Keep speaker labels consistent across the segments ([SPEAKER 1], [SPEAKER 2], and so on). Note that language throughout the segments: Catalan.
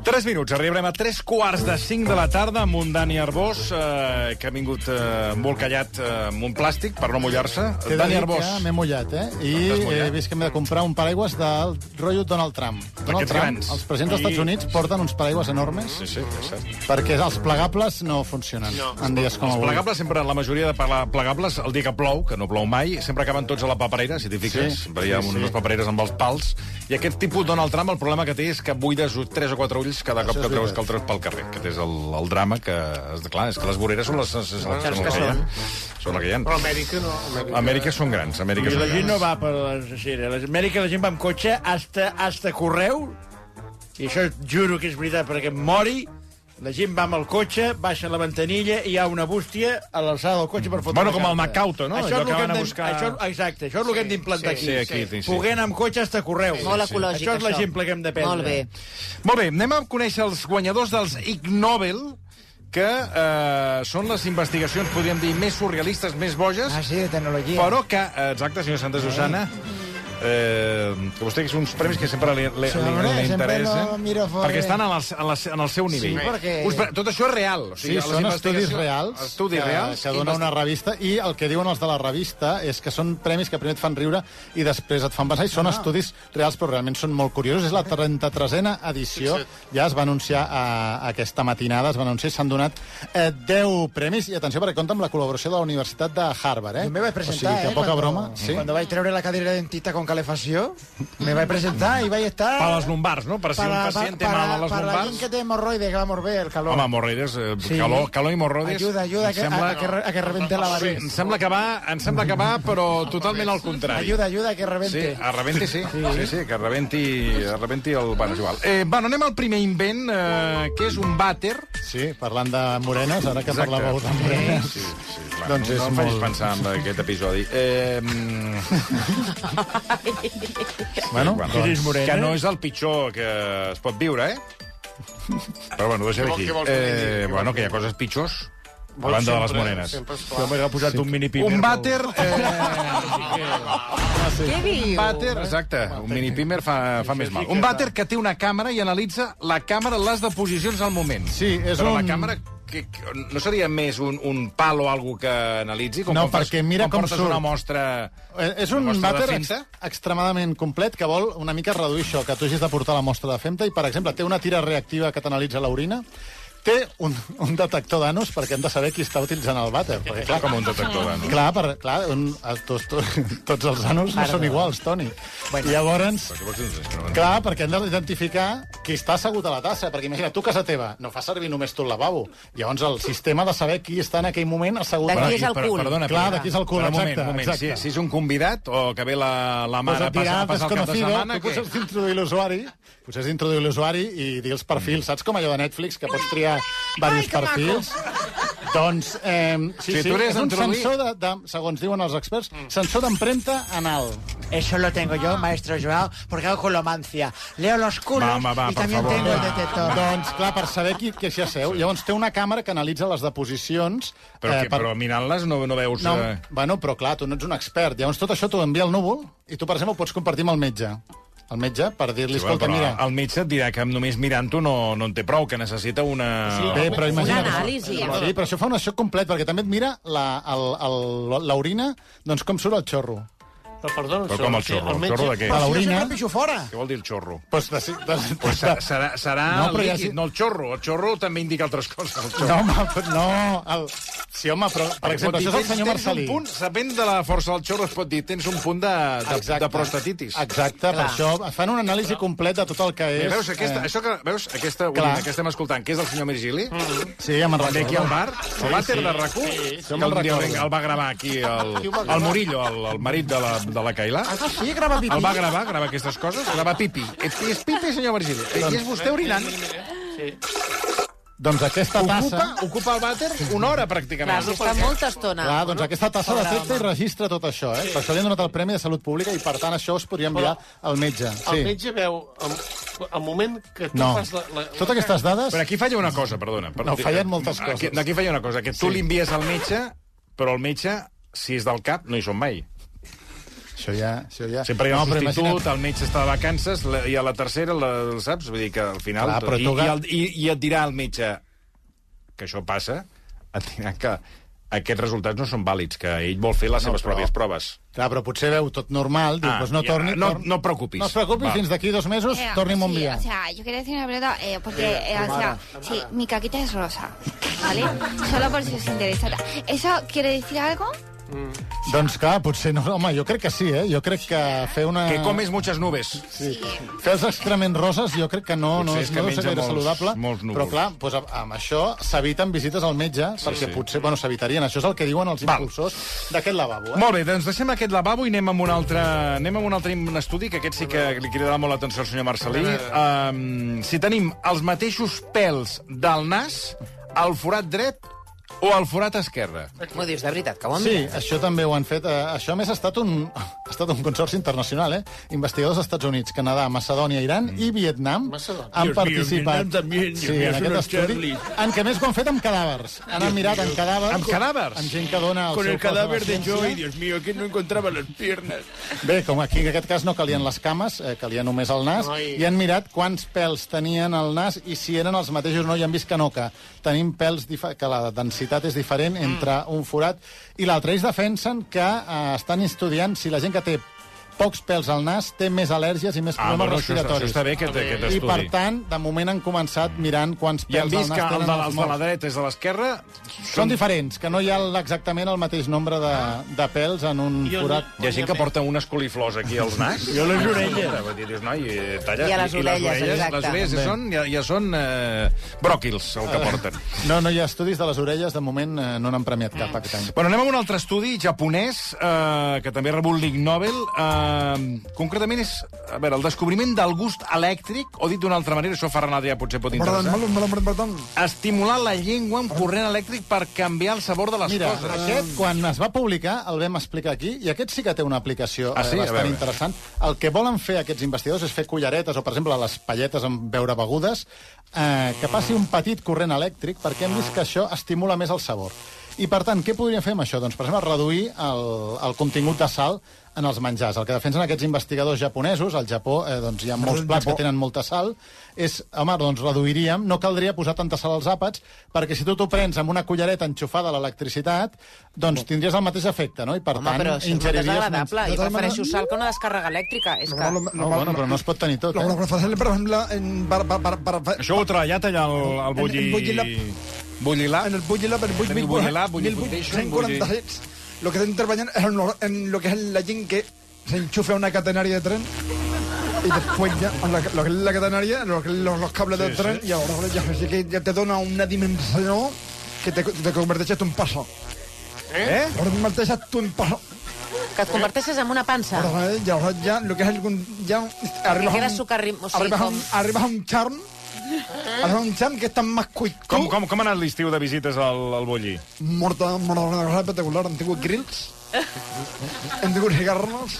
[SPEAKER 1] 3 minuts, arribarem a 3 quarts de 5 de la tarda amb un Dani Arbós, eh, que ha vingut eh, molt callat eh, amb un plàstic per no mullar-se.
[SPEAKER 2] T'he de
[SPEAKER 1] Dani
[SPEAKER 2] dir
[SPEAKER 1] Arbós,
[SPEAKER 2] que m'he mullat, eh? I
[SPEAKER 1] T'has mullat?
[SPEAKER 2] he vist que m'he de comprar un paraigües del rotllo Donald Trump. Donald
[SPEAKER 1] D'aquests
[SPEAKER 2] Trump,
[SPEAKER 1] grans.
[SPEAKER 2] els presidents
[SPEAKER 1] I-
[SPEAKER 2] dels Estats Units porten uns paraigües enormes
[SPEAKER 1] Sí, sí, és cert.
[SPEAKER 2] perquè els plegables no funcionen no. en dies com
[SPEAKER 1] Els
[SPEAKER 2] avui.
[SPEAKER 1] plegables sempre, la majoria de pla- plegables, el dia que plou, que no plou mai, sempre acaben tots a la paperera, si t'hi fiques.
[SPEAKER 2] Sí,
[SPEAKER 1] Sempre hi ha
[SPEAKER 2] sí,
[SPEAKER 1] sí,
[SPEAKER 2] sí.
[SPEAKER 1] unes papereres amb els pals. I aquest tipus Donald Trump, el problema que té és que buides 3 o 4 ulls cada cop
[SPEAKER 2] Això és
[SPEAKER 1] que treus,
[SPEAKER 2] veritat.
[SPEAKER 1] que el treus pel carrer. Que és el, el drama que... és- Clar, és que les voreres són les, les, les, les,
[SPEAKER 3] saps
[SPEAKER 1] són
[SPEAKER 3] que
[SPEAKER 1] les que hi
[SPEAKER 3] són.
[SPEAKER 1] ha. Són les que hi
[SPEAKER 3] Però
[SPEAKER 1] ha.
[SPEAKER 3] Amèrica no. Amèrica,
[SPEAKER 1] Amèrica són grans, Amèrica
[SPEAKER 4] I
[SPEAKER 1] són
[SPEAKER 4] la gent no
[SPEAKER 1] grans.
[SPEAKER 4] va per les aceres. A Amèrica la gent va amb cotxe hasta, hasta correu, i això juro que és veritat perquè em mori, la gent va amb el cotxe, baixa la ventanilla i hi ha una bústia a l'alçada del cotxe per fotre
[SPEAKER 1] Bueno,
[SPEAKER 4] una
[SPEAKER 1] com el
[SPEAKER 4] carta.
[SPEAKER 1] Macauto, no?
[SPEAKER 4] Això
[SPEAKER 1] Allò
[SPEAKER 4] és el
[SPEAKER 1] que
[SPEAKER 4] que
[SPEAKER 1] van
[SPEAKER 4] hem
[SPEAKER 1] a
[SPEAKER 4] de-
[SPEAKER 1] buscar-
[SPEAKER 4] Això, exacte, això és el que hem d'implantar
[SPEAKER 1] Sí, aquí, sí,
[SPEAKER 4] aquí.
[SPEAKER 1] sí.
[SPEAKER 4] Poguer anar amb cotxe hasta correu.
[SPEAKER 3] Molt ecològic,
[SPEAKER 4] Això és l'exemple que hem de prendre.
[SPEAKER 3] Molt bé.
[SPEAKER 1] Molt bé, anem a conèixer els guanyadors dels Ig Nobel, que eh, són les investigacions, podríem dir, més surrealistes, més boges,
[SPEAKER 5] Ah, sí, de tecnologia.
[SPEAKER 1] però que, eh, exacte, senyora Santa Susana, eh, que vostè és uns premis que sempre li, li, li,
[SPEAKER 5] Sobre,
[SPEAKER 1] li
[SPEAKER 5] sempre
[SPEAKER 1] interessa,
[SPEAKER 5] no miro fora.
[SPEAKER 1] perquè estan en, les, en, les, en el seu nivell.
[SPEAKER 5] perquè-
[SPEAKER 1] Us pre- Tot això és real. O
[SPEAKER 2] Sí,
[SPEAKER 1] sigui, les
[SPEAKER 2] són
[SPEAKER 1] investigacions-
[SPEAKER 2] estudis reals,
[SPEAKER 1] Estudis
[SPEAKER 2] que,
[SPEAKER 1] reals.
[SPEAKER 2] que dona una revista, i el que diuen els de la revista és que són premis que primer et fan riure i després et fan pensar, i són
[SPEAKER 1] Ah.
[SPEAKER 2] estudis reals, però realment són molt curiosos. És la 33a edició, ja es va anunciar a, aquesta matinada, es va anunciar, i s'han donat eh, 10 premis, i atenció perquè compta amb la col·laboració de la Universitat de Harvard, eh?
[SPEAKER 5] Yo me vais a presentar,
[SPEAKER 2] o sigui, que
[SPEAKER 5] eh,
[SPEAKER 2] poca
[SPEAKER 5] cuando,
[SPEAKER 2] broma. Sí.
[SPEAKER 5] Cuando vais a traer la cadera de dentista con calefacción, me vais a presentar y vais a estar...
[SPEAKER 1] Per les lumbars, no? Per si un pacient té mal a les
[SPEAKER 5] para la
[SPEAKER 1] lumbars...
[SPEAKER 5] gente que té hemorroides, que vamos a ver el calor.
[SPEAKER 1] Home, morreres, eh,
[SPEAKER 5] Sí.
[SPEAKER 1] calor, calor i morrodes...
[SPEAKER 5] Ayuda, ayuda a
[SPEAKER 1] em
[SPEAKER 5] que, a- a que re- a que reviente la
[SPEAKER 1] Sí,
[SPEAKER 5] nariz.
[SPEAKER 1] em sembla que va, em sembla que va, però totalment al contrari.
[SPEAKER 5] Ayuda, ayuda a que
[SPEAKER 1] Sí,
[SPEAKER 5] reviente.
[SPEAKER 1] a rebenti, sí. Sí, sí, que rebenti, rebenti el... Bueno, és igual. Eh, bueno, anem al primer invent, eh, que és un vàter.
[SPEAKER 2] Sí, parlant de morenes, ara que
[SPEAKER 1] Exacte.
[SPEAKER 2] parlàveu de morenes...
[SPEAKER 1] Sí, sí, clar,
[SPEAKER 2] Doncs
[SPEAKER 1] no,
[SPEAKER 2] és
[SPEAKER 1] no em
[SPEAKER 2] molt-
[SPEAKER 1] facis pensar en aquest episodi. Eh, mm,
[SPEAKER 2] Bueno,
[SPEAKER 1] bueno,
[SPEAKER 2] doncs,
[SPEAKER 4] és morena?
[SPEAKER 1] que no és el pitjor que es pot viure, eh? Però bueno, ho deixem
[SPEAKER 3] Què vol-
[SPEAKER 1] aquí.
[SPEAKER 3] què vols que li digui?
[SPEAKER 1] Eh,
[SPEAKER 3] Què
[SPEAKER 1] bueno,
[SPEAKER 3] vols
[SPEAKER 1] que hi ha coses pitjors. Parlant de les morenes.
[SPEAKER 3] Sempre, és
[SPEAKER 4] Jo
[SPEAKER 3] clar.
[SPEAKER 4] m'he posat un mini pimer.
[SPEAKER 1] Un vàter... Eh,
[SPEAKER 3] Què
[SPEAKER 1] Un
[SPEAKER 3] diu?
[SPEAKER 1] vàter, exacte, un mini primer fa, fa més mal. Un vàter que té una càmera i analitza la càmera, les deposicions al moment.
[SPEAKER 2] Sí, és
[SPEAKER 1] Però
[SPEAKER 2] un-
[SPEAKER 1] la càmera que, que, no seria més un, un pal o algo que analitzi? Com
[SPEAKER 2] No,
[SPEAKER 1] quan fas-
[SPEAKER 2] perquè mira
[SPEAKER 1] quan
[SPEAKER 2] com
[SPEAKER 1] portes
[SPEAKER 2] surt.
[SPEAKER 1] una mostra...
[SPEAKER 2] Eh, És
[SPEAKER 1] Una
[SPEAKER 2] un
[SPEAKER 1] mostra de
[SPEAKER 2] vàter ex
[SPEAKER 1] femta?
[SPEAKER 2] extremadament complet que vol una mica reduir això, que tu hagis de portar la mostra de femta i, per exemple, té una tira reactiva que t'analitza l'orina, té un, un detector d'anus perquè hem de saber qui està utilitzant el vàter. Perquè, clar,
[SPEAKER 1] Com un detector d'anus.
[SPEAKER 2] clar, per, clar un, els- tots, tots, tots els anus no són iguals, Toni. Bueno. Llavors,
[SPEAKER 1] Què vols dir?
[SPEAKER 2] Clar, perquè hem d'identificar qui està assegut a la tassa, perquè imagina, tu a casa teva no fa servir només tu el lavabo. Llavors el sistema ha de saber qui està en aquell moment assegut.
[SPEAKER 3] De
[SPEAKER 2] a la-
[SPEAKER 3] qui és el
[SPEAKER 1] Però-
[SPEAKER 3] cul.
[SPEAKER 1] Perdona,
[SPEAKER 2] Clar,
[SPEAKER 1] però-
[SPEAKER 2] d'aquí és el cul,
[SPEAKER 1] però un
[SPEAKER 2] exacte,
[SPEAKER 1] moment, un moment.
[SPEAKER 2] exacte.
[SPEAKER 1] Si, si és un convidat o que ve la, la
[SPEAKER 2] Pues
[SPEAKER 1] mare
[SPEAKER 2] et
[SPEAKER 1] a passar,
[SPEAKER 2] dirà
[SPEAKER 1] a passar el cap de
[SPEAKER 2] desconocido,
[SPEAKER 1] setmana...
[SPEAKER 2] tu potser has d'introduir l'usuari, potser has d'introduir l'usuari i dir els perfils, saps com allò de Netflix, que pots triar diversos perfils? Doncs, eh, sí,
[SPEAKER 1] Si
[SPEAKER 2] sí,
[SPEAKER 1] tu l'has
[SPEAKER 2] és un
[SPEAKER 1] d'introduir- Mm.
[SPEAKER 2] sensor, de, de, segons diuen els experts, sensor d'empremta anal.
[SPEAKER 5] Eso lo tengo yo, maestro Joao, porque hago colomancia. Leo los culos
[SPEAKER 1] Va, va, va,
[SPEAKER 5] y
[SPEAKER 1] por
[SPEAKER 5] también
[SPEAKER 1] favor,
[SPEAKER 5] tengo el
[SPEAKER 1] va.
[SPEAKER 5] detector.
[SPEAKER 2] Doncs, clar, per saber qui, qui s'hi asseu. Llavors té una càmera que analitza les deposicions... eh,
[SPEAKER 1] Però, que,
[SPEAKER 2] per-
[SPEAKER 1] però mirant-les no, no veus...
[SPEAKER 2] No,
[SPEAKER 1] eh,
[SPEAKER 2] bueno, però clar, tu no ets un expert. Llavors tot això t'ho envia al núvol i tu, per exemple, ho pots compartir amb el metge. El metge, per dir-li,
[SPEAKER 1] Sí, bueno,
[SPEAKER 2] escolta,
[SPEAKER 1] però
[SPEAKER 2] mira...
[SPEAKER 1] El metge et dirà que només mirant-ho no, no en té prou, que necessita Ah. una... eh?
[SPEAKER 2] Bé, però imagina't...
[SPEAKER 3] anàlisi.
[SPEAKER 2] Sí, però això fa un això complet, perquè també et mira la- el- el- l'orina, doncs com surt el xorro.
[SPEAKER 3] Però perdona,
[SPEAKER 1] Però com el xorro? El xorro de què?
[SPEAKER 2] A
[SPEAKER 5] Si yo
[SPEAKER 2] l'orina...
[SPEAKER 5] siempre piso fuera.
[SPEAKER 1] Què vol dir el xorro?
[SPEAKER 2] Doncs de, de, de,
[SPEAKER 1] Pues serà, serà, serà
[SPEAKER 2] No,
[SPEAKER 1] no,
[SPEAKER 2] però
[SPEAKER 1] el
[SPEAKER 2] ja
[SPEAKER 1] líquid,
[SPEAKER 2] sí.
[SPEAKER 1] no el xorro. El xorro també indica altres coses. El xorro.
[SPEAKER 2] no, home, però- no... El, sí, home, però, per exemple, això és el
[SPEAKER 1] Tens-
[SPEAKER 2] senyor
[SPEAKER 1] tens
[SPEAKER 2] Marcelí.
[SPEAKER 1] Un punt, depèn de la força del xorro, es pot dir, tens un punt de, de,
[SPEAKER 2] Exacte.
[SPEAKER 1] de prostatitis.
[SPEAKER 2] Exacte, per això et fan una anàlisi complet de tot el que és...
[SPEAKER 1] Mira, veus, aquesta, això que, veus, aquesta
[SPEAKER 2] eh, Clar. Mm.
[SPEAKER 1] orina que estem escoltant, que és el senyor Virgili,
[SPEAKER 2] Sí, ja me'n
[SPEAKER 1] també aquí al
[SPEAKER 2] recordo.
[SPEAKER 1] bar, el vàter de RAC1, que
[SPEAKER 2] me'n
[SPEAKER 1] el, dia
[SPEAKER 2] recordo.
[SPEAKER 1] el va gravar aquí el, el Murillo, el, el marit de la, de la Cailà.
[SPEAKER 5] Sí, graba pipí.
[SPEAKER 1] El va gravar, gravar aquestes coses, gravar pipi. És, és pipi, senyor Virgili. I és vostè orinant.
[SPEAKER 2] Doncs aquesta
[SPEAKER 1] Ocupa,
[SPEAKER 2] tassa...
[SPEAKER 1] ocupa el vàter una hora, pràcticament.
[SPEAKER 3] Clar, si està molta estona.
[SPEAKER 2] Clar, doncs aquesta tassa detecta i registra tot això, eh? Per això li han donat el Premi de Salut Pública i, per tant, això us podria enviar al metge.
[SPEAKER 6] El
[SPEAKER 2] Sí.
[SPEAKER 6] metge veu, el, el moment que tu
[SPEAKER 2] No.
[SPEAKER 6] fas la... la
[SPEAKER 2] Totes aquestes dades...
[SPEAKER 1] Però aquí falla una cosa, perdona. Per
[SPEAKER 2] No, fallen moltes
[SPEAKER 1] Aquí-
[SPEAKER 2] coses.
[SPEAKER 1] Aquí falla una cosa, que tu sí. li envies al metge, però el metge, si és del cap, no hi som mai. O
[SPEAKER 2] Això ja... Això ja...
[SPEAKER 1] Sí, perquè no, el
[SPEAKER 2] però
[SPEAKER 1] substitut,
[SPEAKER 2] imagina't-
[SPEAKER 1] el metge està de vacances, la, i a la tercera, la, el saps? Vull dir que al final...
[SPEAKER 2] Clar, però
[SPEAKER 1] i,
[SPEAKER 2] tu
[SPEAKER 1] i,
[SPEAKER 2] ga-
[SPEAKER 1] el, i, I et dirà el metge que això passa, et dirà que aquests resultats no són vàlids, que ell vol fer les seves
[SPEAKER 2] però-
[SPEAKER 1] pròpies proves.
[SPEAKER 2] Clar, però potser veu tot normal, diu,
[SPEAKER 1] Ah,
[SPEAKER 2] pues no
[SPEAKER 1] ja,
[SPEAKER 2] torni...
[SPEAKER 1] no-
[SPEAKER 2] torni-
[SPEAKER 1] no et preocupis.
[SPEAKER 2] No es preocupis,
[SPEAKER 1] Va.
[SPEAKER 2] fins d'aquí dos mesos
[SPEAKER 7] Eh,
[SPEAKER 2] torni'm un
[SPEAKER 7] sí,
[SPEAKER 2] dia.
[SPEAKER 7] O sea, yo quería decir una verdad, eh, porque, eh, o sea, sí, mi caquita es rosa, ¿vale? Solo por si os interesa. ¿Eso quiere decir algo?
[SPEAKER 2] Doncs clar, potser no, home, jo crec que sí, eh? Jo crec que fer una...
[SPEAKER 1] Que comes muchas nubes.
[SPEAKER 7] Sí.
[SPEAKER 2] Fer els excrements roses jo crec que no, no,
[SPEAKER 1] Potser
[SPEAKER 2] és,
[SPEAKER 1] és que
[SPEAKER 2] no deu ser
[SPEAKER 1] menja
[SPEAKER 2] gaire
[SPEAKER 1] molts-
[SPEAKER 2] saludable,
[SPEAKER 1] molts núvols.
[SPEAKER 2] però clar, doncs, a- amb això s'eviten visites al metge, perquè
[SPEAKER 1] sí.
[SPEAKER 2] potser, bueno, s'evitarien. Això és el que diuen els
[SPEAKER 1] Val.
[SPEAKER 2] impulsors d'aquest lavabo, eh?
[SPEAKER 1] Molt bé, doncs deixem aquest lavabo i anem amb un altre, anem amb un altre estudi, que aquest sí que li cridarà molt l'atenció al senyor Marcelí. Um, si tenim els mateixos pèls del nas, al forat dret o al forat esquerre.
[SPEAKER 3] M'ho dius de veritat, que ho han
[SPEAKER 2] Sí, això també ho han fet. Eh, això, a més, ha estat un, ha estat un consorci internacional, eh? Investigadors dels Estats Units, Canadà, Macedònia, Iran i Vietnam
[SPEAKER 6] Macedònia.
[SPEAKER 2] han
[SPEAKER 4] Mm. Dios mío,
[SPEAKER 2] participat
[SPEAKER 4] Vietnam també, Dios
[SPEAKER 2] sí,
[SPEAKER 4] mío,
[SPEAKER 2] en
[SPEAKER 4] són
[SPEAKER 2] aquest
[SPEAKER 4] uns
[SPEAKER 2] estudi.
[SPEAKER 4] Charlies.
[SPEAKER 2] En què més ho han fet amb cadàvers. Han mirat amb cadàvers.
[SPEAKER 1] Amb cadàvers?
[SPEAKER 2] Amb gent que dona el
[SPEAKER 4] Con
[SPEAKER 2] seu
[SPEAKER 4] el
[SPEAKER 2] cos a la
[SPEAKER 4] cadáver de
[SPEAKER 2] ciència.
[SPEAKER 4] Joey, Dios mío, que no encontraba las piernas.
[SPEAKER 2] Bé, com aquí en aquest cas no calien les cames, eh, calia només el nas,
[SPEAKER 6] Ai.
[SPEAKER 2] i han mirat quants pèls tenien al nas i si eren els mateixos no, i han vist que no, que tenim pèls difa- que la densitat és diferent
[SPEAKER 1] Mm.
[SPEAKER 2] entre un forat i l'altre. Ells defensen que eh, estan estudiant si la gent que té pocs pèls al nas té més al·lèrgies i més problemes
[SPEAKER 1] Ah, això, això
[SPEAKER 2] Ah, respiratoris.
[SPEAKER 1] està bé, aquest, aquest
[SPEAKER 2] I, per
[SPEAKER 1] estudi.
[SPEAKER 2] tant, de moment han començat mirant quants
[SPEAKER 1] I han
[SPEAKER 2] pèls al
[SPEAKER 1] vist
[SPEAKER 2] nas
[SPEAKER 1] que el
[SPEAKER 2] tenen
[SPEAKER 1] de,
[SPEAKER 2] els
[SPEAKER 1] els de la
[SPEAKER 2] morts.
[SPEAKER 1] dreta és de l'esquerra...
[SPEAKER 2] Són diferents, que no hi ha exactament el mateix nombre de, de pèls en un
[SPEAKER 6] I on-
[SPEAKER 2] forat.
[SPEAKER 1] Hi ha gent que porta unes coliflors aquí als nas.
[SPEAKER 4] Jo les orelles.
[SPEAKER 1] Vull dir, dius, noi, eh, talla.
[SPEAKER 3] I a les orelles, exacte.
[SPEAKER 1] Les orelles ja són, ja, ja són eh, bròquils, el
[SPEAKER 2] Ah.
[SPEAKER 1] que porten.
[SPEAKER 2] No, no hi ha estudis de les orelles, de moment eh, no n'han premiat cap aquest any.
[SPEAKER 1] Bueno, anem amb un altre estudi japonès eh, que també ha rebut l'Ig Nobel. Eh, concretament és, a veure, el descobriment del gust elèctric, o dit d'una altra manera, això Ferran Adrià potser pot interessar, estimular la llengua amb corrent elèctric per canviar el sabor de les
[SPEAKER 2] Mira,
[SPEAKER 1] coses.
[SPEAKER 2] aquest, quan es va publicar, el vam explicar aquí, i aquest sí que té una aplicació
[SPEAKER 1] Ah, sí?
[SPEAKER 2] eh,
[SPEAKER 1] A
[SPEAKER 2] bastant
[SPEAKER 1] veure.
[SPEAKER 2] interessant. El que volen fer aquests investigadors és fer culleretes, o, per exemple, les palletes amb beure begudes, eh, que passi un petit corrent elèctric, perquè hem vist que això estimula més el sabor. I, per tant, què podríem fer amb això? Doncs, per exemple, reduir el, el contingut de sal en els menjars. El que defensen aquests investigadors japonesos, al Japó eh, doncs hi ha molts plats que tenen molta sal, és, home, doncs reduiríem, no caldria posar tanta sal als àpats, perquè si tu t'ho prens amb una cullereta enxufada a l'electricitat, doncs tindries el mateix efecte, no? I per
[SPEAKER 3] Home,
[SPEAKER 2] tant,
[SPEAKER 3] però això és molt
[SPEAKER 2] ingeriries
[SPEAKER 3] desagradable.
[SPEAKER 2] menys-
[SPEAKER 3] Jo prefereixo sal que una descàrrega elèctrica. És que...
[SPEAKER 8] Lo-
[SPEAKER 2] No, Oh, bueno, però no es pot tenir tot,
[SPEAKER 8] Lo- lo
[SPEAKER 2] eh?
[SPEAKER 8] que hacen, por ejemplo, en, para, para, para, para-
[SPEAKER 1] Això ho he treballat allà al, al
[SPEAKER 8] En- en Bullilab.
[SPEAKER 1] bulli... Bullilab.
[SPEAKER 8] en el Bullilab, en
[SPEAKER 1] En el Bullilab, Bulli Foundation, Bulli-
[SPEAKER 8] 146, lo que hacen trabajan en, lo- en lo que es la yin que se enchufa a una catenaria de tren y después ya en la- lo que es la catenaria, lo que es los, los cables del tren y ahora ya, así que ya te dona una dimensión que te, te converteixes tu en paso.
[SPEAKER 1] Eh?
[SPEAKER 8] Ahora te converteixes tu en paso.
[SPEAKER 3] Que et converteixes en una pansa.
[SPEAKER 8] Ahora ya, ahora ya lo que es el, ya arribas,
[SPEAKER 3] quedas
[SPEAKER 8] a un-
[SPEAKER 3] socarrim- o sigui,
[SPEAKER 8] arribas, a un,
[SPEAKER 3] com-
[SPEAKER 8] arribas a un charm,
[SPEAKER 1] ¿Eh?
[SPEAKER 8] arribas a un charm que está más cuit.
[SPEAKER 1] Com, com, com ha anat l'estiu de visites al, al bulli?
[SPEAKER 8] Morta, morta, una cosa espectacular. Han tingut grills, hem tingut cigarros,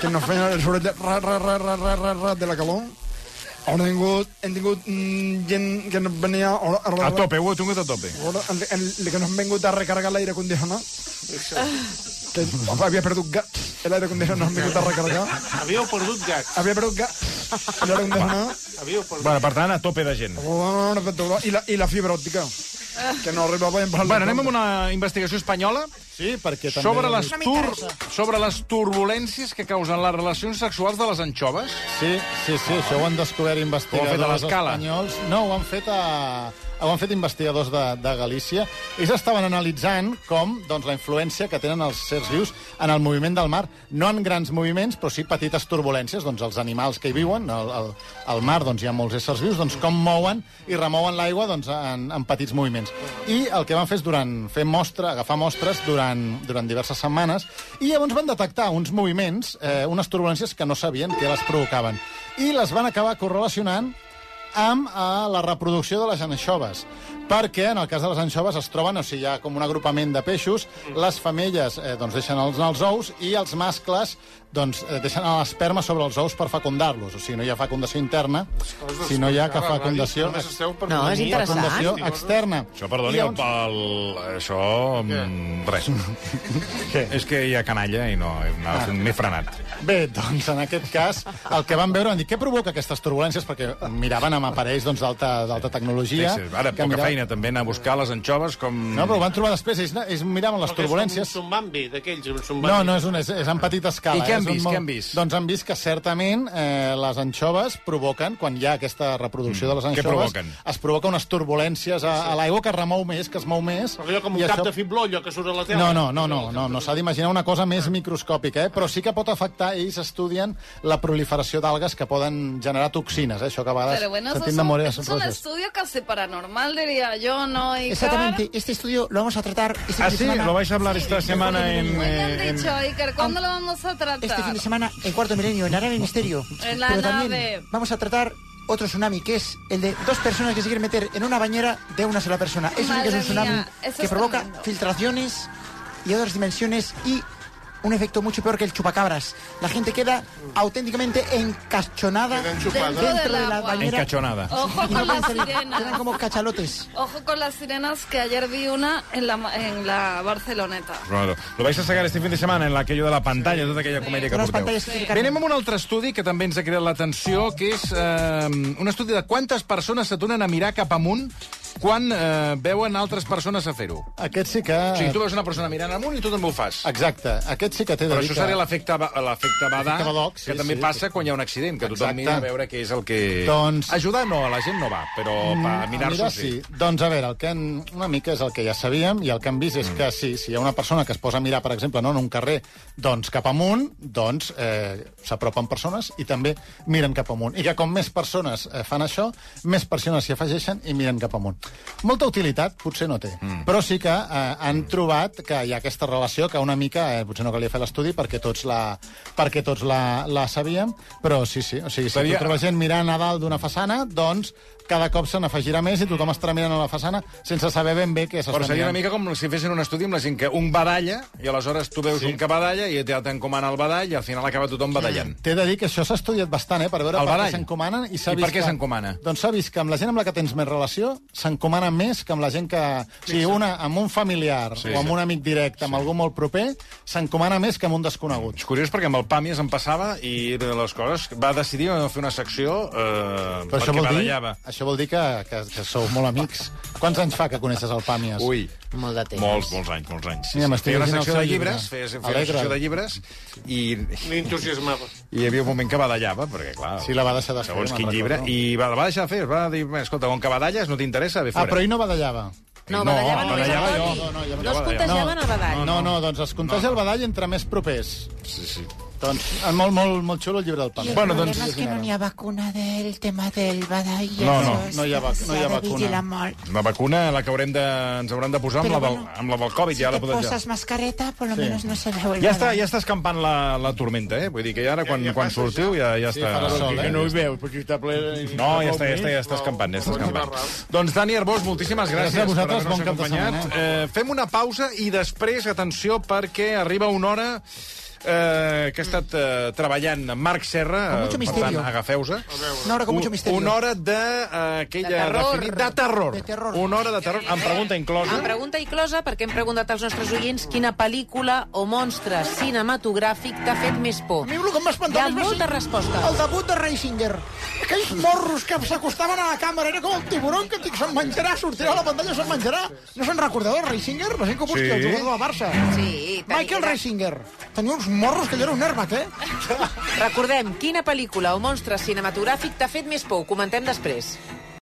[SPEAKER 8] que no feien el soroll de ra, ra, ra, ra, ra, ra, ra, de la calor. Ara hem tingut, hem tingut mm, gent que no venia... Ara, ara,
[SPEAKER 1] A tope, ho he tingut a tope.
[SPEAKER 8] Ara, el, el, el que no han vingut a recarregar l'aire condicionat. Que havia perdut gats. L'aire condicionat no han vingut a recarregar.
[SPEAKER 6] Havíeu perdut gats.
[SPEAKER 8] Havia perdut gats. L'aire condicionat.
[SPEAKER 6] Havíeu perdut...
[SPEAKER 1] Bueno, per tant, a tope de gent.
[SPEAKER 8] Una espectacular. I la, I la fibra òptica. Que no arribava a emprar...
[SPEAKER 1] Bueno, anem amb una investigació espanyola
[SPEAKER 2] Sí, perquè també...
[SPEAKER 1] sobre les, tur... sobre les turbulències que causen les relacions sexuals de les anxoves.
[SPEAKER 2] Sí, sí, sí, això ho han descobert
[SPEAKER 1] Ho han
[SPEAKER 2] investigadors
[SPEAKER 1] fet a l'escala.
[SPEAKER 2] espanyols. No, ho han fet a... Ho han fet investigadors de, de Galícia. Ells estaven analitzant com doncs, la influència que tenen els certs vius en el moviment del mar. No en grans moviments, però sí petites turbulències. Doncs els animals que hi viuen, al, al, al mar doncs, hi ha molts éssers vius, doncs com mouen i remouen l'aigua doncs, en, en petits moviments. I el que van fer és durant, fer mostra, agafar mostres durant, durant diverses setmanes i llavors van detectar uns moviments, eh, unes turbulències que no sabien què les provocaven. I les van acabar correlacionant amb eh, la reproducció de les anxoves. perquè en el cas de les anxoves es troben, o sigui, hi ha com un agrupament de peixos, les femelles eh, doncs deixen els, els ous i els mascles doncs, eh, deixen l'esperma sobre els ous per fecundar-los. O sigui, no hi ha fecundació interna, si no hi ha cap fecundació,
[SPEAKER 3] No, és interessant.
[SPEAKER 2] fecundació externa.
[SPEAKER 1] Això, perdoni,
[SPEAKER 2] I
[SPEAKER 1] el,
[SPEAKER 2] llavors-
[SPEAKER 1] el, això... mm, Res. És que hi ha canalla i no, m'ha- m'he frenat.
[SPEAKER 2] Bé, doncs en aquest cas, el que van veure van dir, què provoca aquestes turbulències? Perquè miraven amb aparells doncs, d'alta d'alta tecnologia.
[SPEAKER 1] Fixi's, Ara,
[SPEAKER 2] que
[SPEAKER 1] poca
[SPEAKER 2] miraven-
[SPEAKER 1] feina també anar a buscar les anxoves com...
[SPEAKER 2] No, però ho van trobar després, ells, ells miraven les turbulències.
[SPEAKER 6] Un zumbambi d'aquells, un zumbambi.
[SPEAKER 2] No, no, és, un, és, és en petita escala.
[SPEAKER 1] I què
[SPEAKER 2] eh?
[SPEAKER 1] han
[SPEAKER 2] És un
[SPEAKER 1] vist,
[SPEAKER 2] món-
[SPEAKER 1] què han vist?
[SPEAKER 2] Doncs han vist que certament eh, les anxoves provoquen, quan hi ha aquesta reproducció de les
[SPEAKER 1] Mm. Què
[SPEAKER 2] anxoves,
[SPEAKER 1] provoquen?
[SPEAKER 2] es provoca unes turbulències a, a l'aigua que es remou més, que es mou més.
[SPEAKER 6] Allò com
[SPEAKER 2] i
[SPEAKER 6] un cap
[SPEAKER 2] això-
[SPEAKER 6] de fibló, allò que surt a la tele.
[SPEAKER 2] no, no, no, no, no, no s'ha d'imaginar una cosa més microscòpica, eh? però sí que pot afectar, ells estudien la proliferació d'algues que poden generar toxines, eh? això que a vegades
[SPEAKER 9] Pero bueno, eso es
[SPEAKER 2] sentim de
[SPEAKER 9] un,
[SPEAKER 2] Morera
[SPEAKER 9] eso es un
[SPEAKER 2] Roges.
[SPEAKER 9] estudio casi paranormal, diría yo, ¿no? Icar?
[SPEAKER 5] Exactamente, este estudio lo vamos a tratar este fin
[SPEAKER 1] Ah,
[SPEAKER 5] de
[SPEAKER 1] sí?
[SPEAKER 5] semana.
[SPEAKER 1] Lo vais a hablar esta semana en...
[SPEAKER 9] Muy bien
[SPEAKER 1] eh, en-
[SPEAKER 9] dicho, Iker. ¿Cuándo lo vamos a tratar?
[SPEAKER 5] Este fin de semana en Cuarto Milenio, en Arabia Misterio.
[SPEAKER 9] En la
[SPEAKER 5] Pero
[SPEAKER 9] nave.
[SPEAKER 5] también vamos a tratar otro tsunami, que es el de dos personas que se quieren meter en una bañera de una sola persona. Eso sí que es un
[SPEAKER 9] Madre
[SPEAKER 5] tsunami
[SPEAKER 9] mía, eso
[SPEAKER 5] que
[SPEAKER 9] es
[SPEAKER 5] provoca
[SPEAKER 9] tremendo.
[SPEAKER 5] filtraciones y otras dimensiones y un efecto mucho peor que el chupacabras. La gente queda auténticamente encachonada
[SPEAKER 6] Quedan
[SPEAKER 5] dentro,
[SPEAKER 6] chupadas.
[SPEAKER 9] Dentro
[SPEAKER 5] de
[SPEAKER 9] del
[SPEAKER 5] la
[SPEAKER 9] agua.
[SPEAKER 5] bañera.
[SPEAKER 1] Encachonada.
[SPEAKER 9] Ojo
[SPEAKER 5] Y no
[SPEAKER 9] con
[SPEAKER 5] pueden
[SPEAKER 9] las
[SPEAKER 5] salir. Quedan
[SPEAKER 9] sirenas.
[SPEAKER 5] como cachalotes.
[SPEAKER 9] Ojo con las sirenas, que ayer vi una en la, ma- en la Barceloneta.
[SPEAKER 1] Ronaldo. Lo vais a sacar este fin de setmana en aquello de la pantalla, tota aquella comèdia que
[SPEAKER 5] Unas
[SPEAKER 1] porteu.
[SPEAKER 5] pantallas que
[SPEAKER 1] Bé,
[SPEAKER 5] cargan-
[SPEAKER 1] anem amb un altre estudi que també ens ha cridat l'atenció, que és eh, un estudi de quantes persones s'atunen a mirar cap amunt quan eh, veuen altres persones a fer-ho.
[SPEAKER 2] Aquest sí que...
[SPEAKER 1] O sigui, tu veus una persona mirant amunt i tu també ho fas.
[SPEAKER 2] Exacte, aquest sí que té de
[SPEAKER 1] Però
[SPEAKER 2] dir
[SPEAKER 1] això
[SPEAKER 2] que-
[SPEAKER 1] seria l'efecte ba- l'efecte Badà,
[SPEAKER 2] L'efecte Badoc, sí,
[SPEAKER 1] que també
[SPEAKER 2] sí.
[SPEAKER 1] passa quan hi ha un accident, que tothom
[SPEAKER 2] Exacte.
[SPEAKER 1] mira a veure què és el que...
[SPEAKER 2] Doncs- Mm,
[SPEAKER 1] Ajudar no, a la gent no va, però pa,
[SPEAKER 2] A
[SPEAKER 1] mirar-s'ho
[SPEAKER 2] mirar,
[SPEAKER 1] sí.
[SPEAKER 2] Doncs a veure, el que han, una mica és el que ja sabíem i el que han vist és
[SPEAKER 1] Mm.
[SPEAKER 2] que si, si hi ha una persona que es posa a mirar, per exemple, no, en un carrer, doncs cap amunt, doncs eh, s'apropen persones i també miren cap amunt. I que com més persones eh, fan això, més persones s'hi afegeixen i miren cap amunt. Molta utilitat potser no té, mm. però sí que eh,
[SPEAKER 1] Mm.
[SPEAKER 2] han trobat que hi ha aquesta relació que una mica, eh, potser no calia fer l'estudi perquè tots la, perquè tots la, la sabíem, però sí, sí, o sigui, si
[SPEAKER 1] Seria-
[SPEAKER 2] tu trobes gent mirant a dalt d'una façana, doncs cada cop se n'afegirà més i tothom estarà mirant a la façana sense saber ben bé què s'està
[SPEAKER 1] Però
[SPEAKER 2] mirant.
[SPEAKER 1] seria una mica com si fessin un estudi amb la gent que un badalla, i aleshores tu veus sí. un que badalla, i te t'encomana el badall, i al final acaba tothom badallant.
[SPEAKER 2] T'he de dir que això s'ha estudiat bastant, eh, per veure
[SPEAKER 1] El
[SPEAKER 2] per
[SPEAKER 1] badall.
[SPEAKER 2] què s'encomanen. I, s'ha
[SPEAKER 1] I
[SPEAKER 2] vist
[SPEAKER 1] per què
[SPEAKER 2] que-
[SPEAKER 1] s'encomana?
[SPEAKER 2] Doncs s'ha vist que amb la gent amb la que tens més relació s'encomana més que amb la gent que... O sigui, una, amb un familiar
[SPEAKER 1] Sí,
[SPEAKER 2] sí, o amb
[SPEAKER 1] sí.
[SPEAKER 2] un amic directe, amb algú molt proper, s'encomana més que amb un desconegut.
[SPEAKER 1] És curiós perquè amb el Pàmies em passava i de les coses va decidir fer una secció eh,
[SPEAKER 2] Però
[SPEAKER 1] perquè
[SPEAKER 2] això vol, dir,
[SPEAKER 1] badallava.
[SPEAKER 2] això vol dir que, que, que sou molt amics. Quants anys fa que coneixes el Pàmies?
[SPEAKER 1] Ui,
[SPEAKER 3] Molt de temps.
[SPEAKER 1] molts, molts anys, molts anys. Sí,
[SPEAKER 2] Mira,
[SPEAKER 1] sí.
[SPEAKER 2] m'estic
[SPEAKER 1] Feia una
[SPEAKER 2] llegint el
[SPEAKER 1] secció
[SPEAKER 2] seu
[SPEAKER 1] de
[SPEAKER 2] llibre.
[SPEAKER 1] llibres, feia, feia una
[SPEAKER 2] Alegre.
[SPEAKER 1] secció de llibres, i
[SPEAKER 6] L'entusiasmava.
[SPEAKER 1] I hi havia un moment que badallava, perquè, clar...
[SPEAKER 2] Sí, la va deixar de fer,
[SPEAKER 1] Segons
[SPEAKER 2] me'n
[SPEAKER 1] quin llibre.
[SPEAKER 2] recordo.
[SPEAKER 1] I va, la va deixar de fer. Va dir, escolta, com que badalles no t'interessa, ve
[SPEAKER 2] Ah,
[SPEAKER 1] fora.
[SPEAKER 2] però ell no badallava.
[SPEAKER 3] No, badallava
[SPEAKER 1] no,
[SPEAKER 3] només el
[SPEAKER 1] badallava
[SPEAKER 3] Toni.
[SPEAKER 1] jo.
[SPEAKER 2] Ah, No, no, jo
[SPEAKER 3] No es
[SPEAKER 1] badallava.
[SPEAKER 3] contagiaven
[SPEAKER 2] No,
[SPEAKER 3] a badall.
[SPEAKER 2] No, no, no, doncs es contagia el badall entre més propers.
[SPEAKER 1] Sí, sí.
[SPEAKER 2] Doncs, eh, molt, molt, molt xulo el llibre del Pàmies.
[SPEAKER 1] Bueno,
[SPEAKER 5] El
[SPEAKER 1] doncs...
[SPEAKER 5] problema és que no n'hi ha vacuna del tema del badall.
[SPEAKER 1] No, no,
[SPEAKER 2] no hi ha vac- no hi ha vacuna.
[SPEAKER 5] molt.
[SPEAKER 1] La vacuna la que haurem de, ens haurem de posar amb la,
[SPEAKER 5] Però
[SPEAKER 1] del,
[SPEAKER 5] bueno,
[SPEAKER 1] amb la del Covid, ja la
[SPEAKER 5] te
[SPEAKER 1] podem...
[SPEAKER 5] poses mascareta, por lo menos no se veu el
[SPEAKER 1] Ja està,
[SPEAKER 5] badall.
[SPEAKER 1] ja està escampant la, la tormenta, eh? Vull dir que ja ara, quan,
[SPEAKER 6] Ja- ja
[SPEAKER 1] quan
[SPEAKER 6] passa,
[SPEAKER 1] sortiu, ja, ja
[SPEAKER 2] Sí, farà
[SPEAKER 1] està...
[SPEAKER 2] sol, eh?
[SPEAKER 4] Que no hi veus, perquè està ple...
[SPEAKER 1] No, ja està, ja està, ja està escampant, ja està escampant. Doncs, Dani Arbós, moltíssimes gràcies,
[SPEAKER 2] Gràcies a vosaltres,
[SPEAKER 1] per haver-nos
[SPEAKER 2] bon cap de
[SPEAKER 1] acompanyat. Eh, fem una pausa i després, atenció, perquè arriba una hora eh, que ha estat eh, treballant amb Marc Serra,
[SPEAKER 5] Con mucho
[SPEAKER 1] eh, per
[SPEAKER 5] misterio.
[SPEAKER 1] tant, agafeu-se.
[SPEAKER 5] Una hora con mucho misterio.
[SPEAKER 1] Una hora de, eh, aquella
[SPEAKER 3] De terror.
[SPEAKER 1] definit- de terror.
[SPEAKER 5] De terror. Eh,
[SPEAKER 1] Una hora de terror, amb pregunta inclosa.
[SPEAKER 3] Em pregunta i closa perquè hem preguntat als nostres oients quina pel·lícula o monstre cinematogràfic t'ha fet més por.
[SPEAKER 5] A mi el que em va espantar
[SPEAKER 3] Hi ha
[SPEAKER 5] més va
[SPEAKER 3] moltes
[SPEAKER 5] ser
[SPEAKER 3] respostes.
[SPEAKER 5] El debut de Reisinger. Aquells morros que s'acostaven a la càmera, era com el tiburón que dic, se'n menjarà, sortirà a la pantalla, se'n menjarà. No se'n recordeu del Reisinger? La gent que busqui
[SPEAKER 1] Sí.
[SPEAKER 5] el jugador del Barça.
[SPEAKER 3] Sí, tenia-
[SPEAKER 5] Michael Reisinger. Tenia uns morros que allò era un herbat, eh?
[SPEAKER 3] Recordem, quina pel·lícula o monstre cinematogràfic t'ha fet més por? Ho Comentem després.